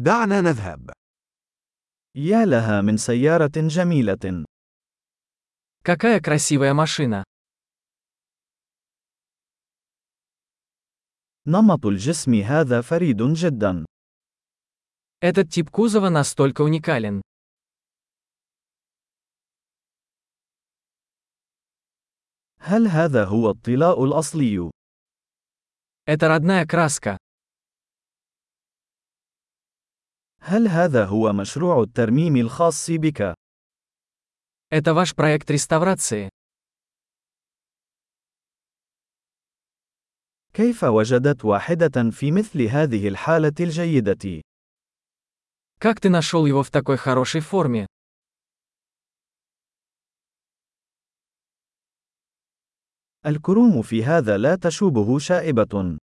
دعنا نذهب. يا لها من سيارة جميلة. Какая красивая машина. نمط الجسم هذا فريد جدا. Этот тип кузова настолько уникален. هل هذا هو الطلاء الأصلي؟ Это родная краска. هل هذا هو مشروع الترميم الخاص بك؟ Это ваш проект реставрации. كيف وجدت واحدة في مثل هذه الحالة الجيدة؟ Как ты нашел его в такой хорошей форме? الكروم في هذا لا تشوبه شائبة.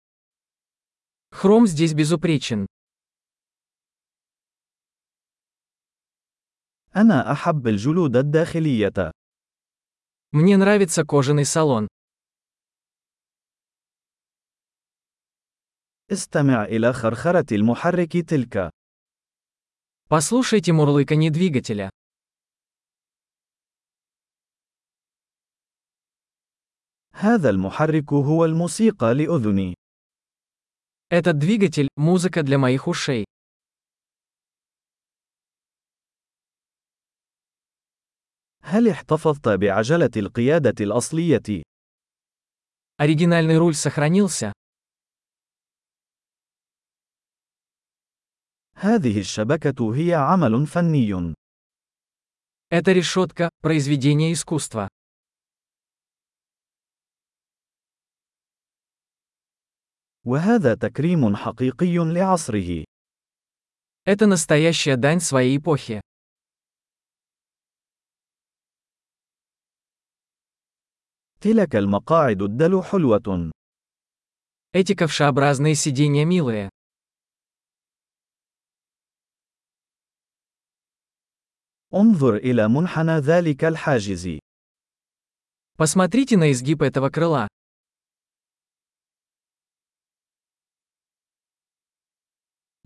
Хром здесь безупречен. أنا أحب الجلود الداخلية. Мне нравится кожаный салон. استمع إلى خرخرة المحرك تلك. Послушайте мурлыканье двигателя. هذا المحرك هو الموسيقى لأذني. Этот двигатель – музыка для моих ушей. هل احتفظت بعجلة القيادة الأصلية؟ Оригинальный руль сохранился. هذه الشبكة هي عمل فني. Это решетка – произведение искусства. وهذا تكريم حقيقي لعصره. Это настоящая дань своей эпохи. تلك المقاعد الدلو حلوة. Эти ковшеобразные сиденья милые. انظر إلى منحنى ذلك الحاجز. Посмотрите на изгиб этого крыла.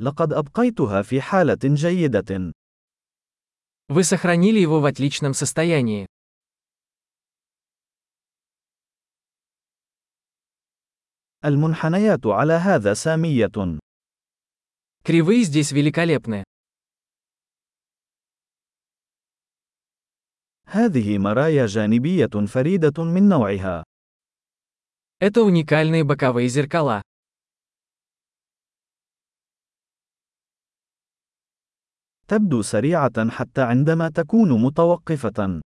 لقد أبقيتها في حالة جيدة. Вы сохранили его в отличном состоянии. المنحنيات على هذا سامية. Кривые здесь великолепны. هذه مرايا جانبية فريدة من نوعها. Это уникальные боковые зеркала. تبدو سريعة حتى عندما تكون متوقفة.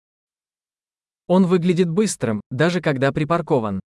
Он выглядит быстрым, даже когда припаркован.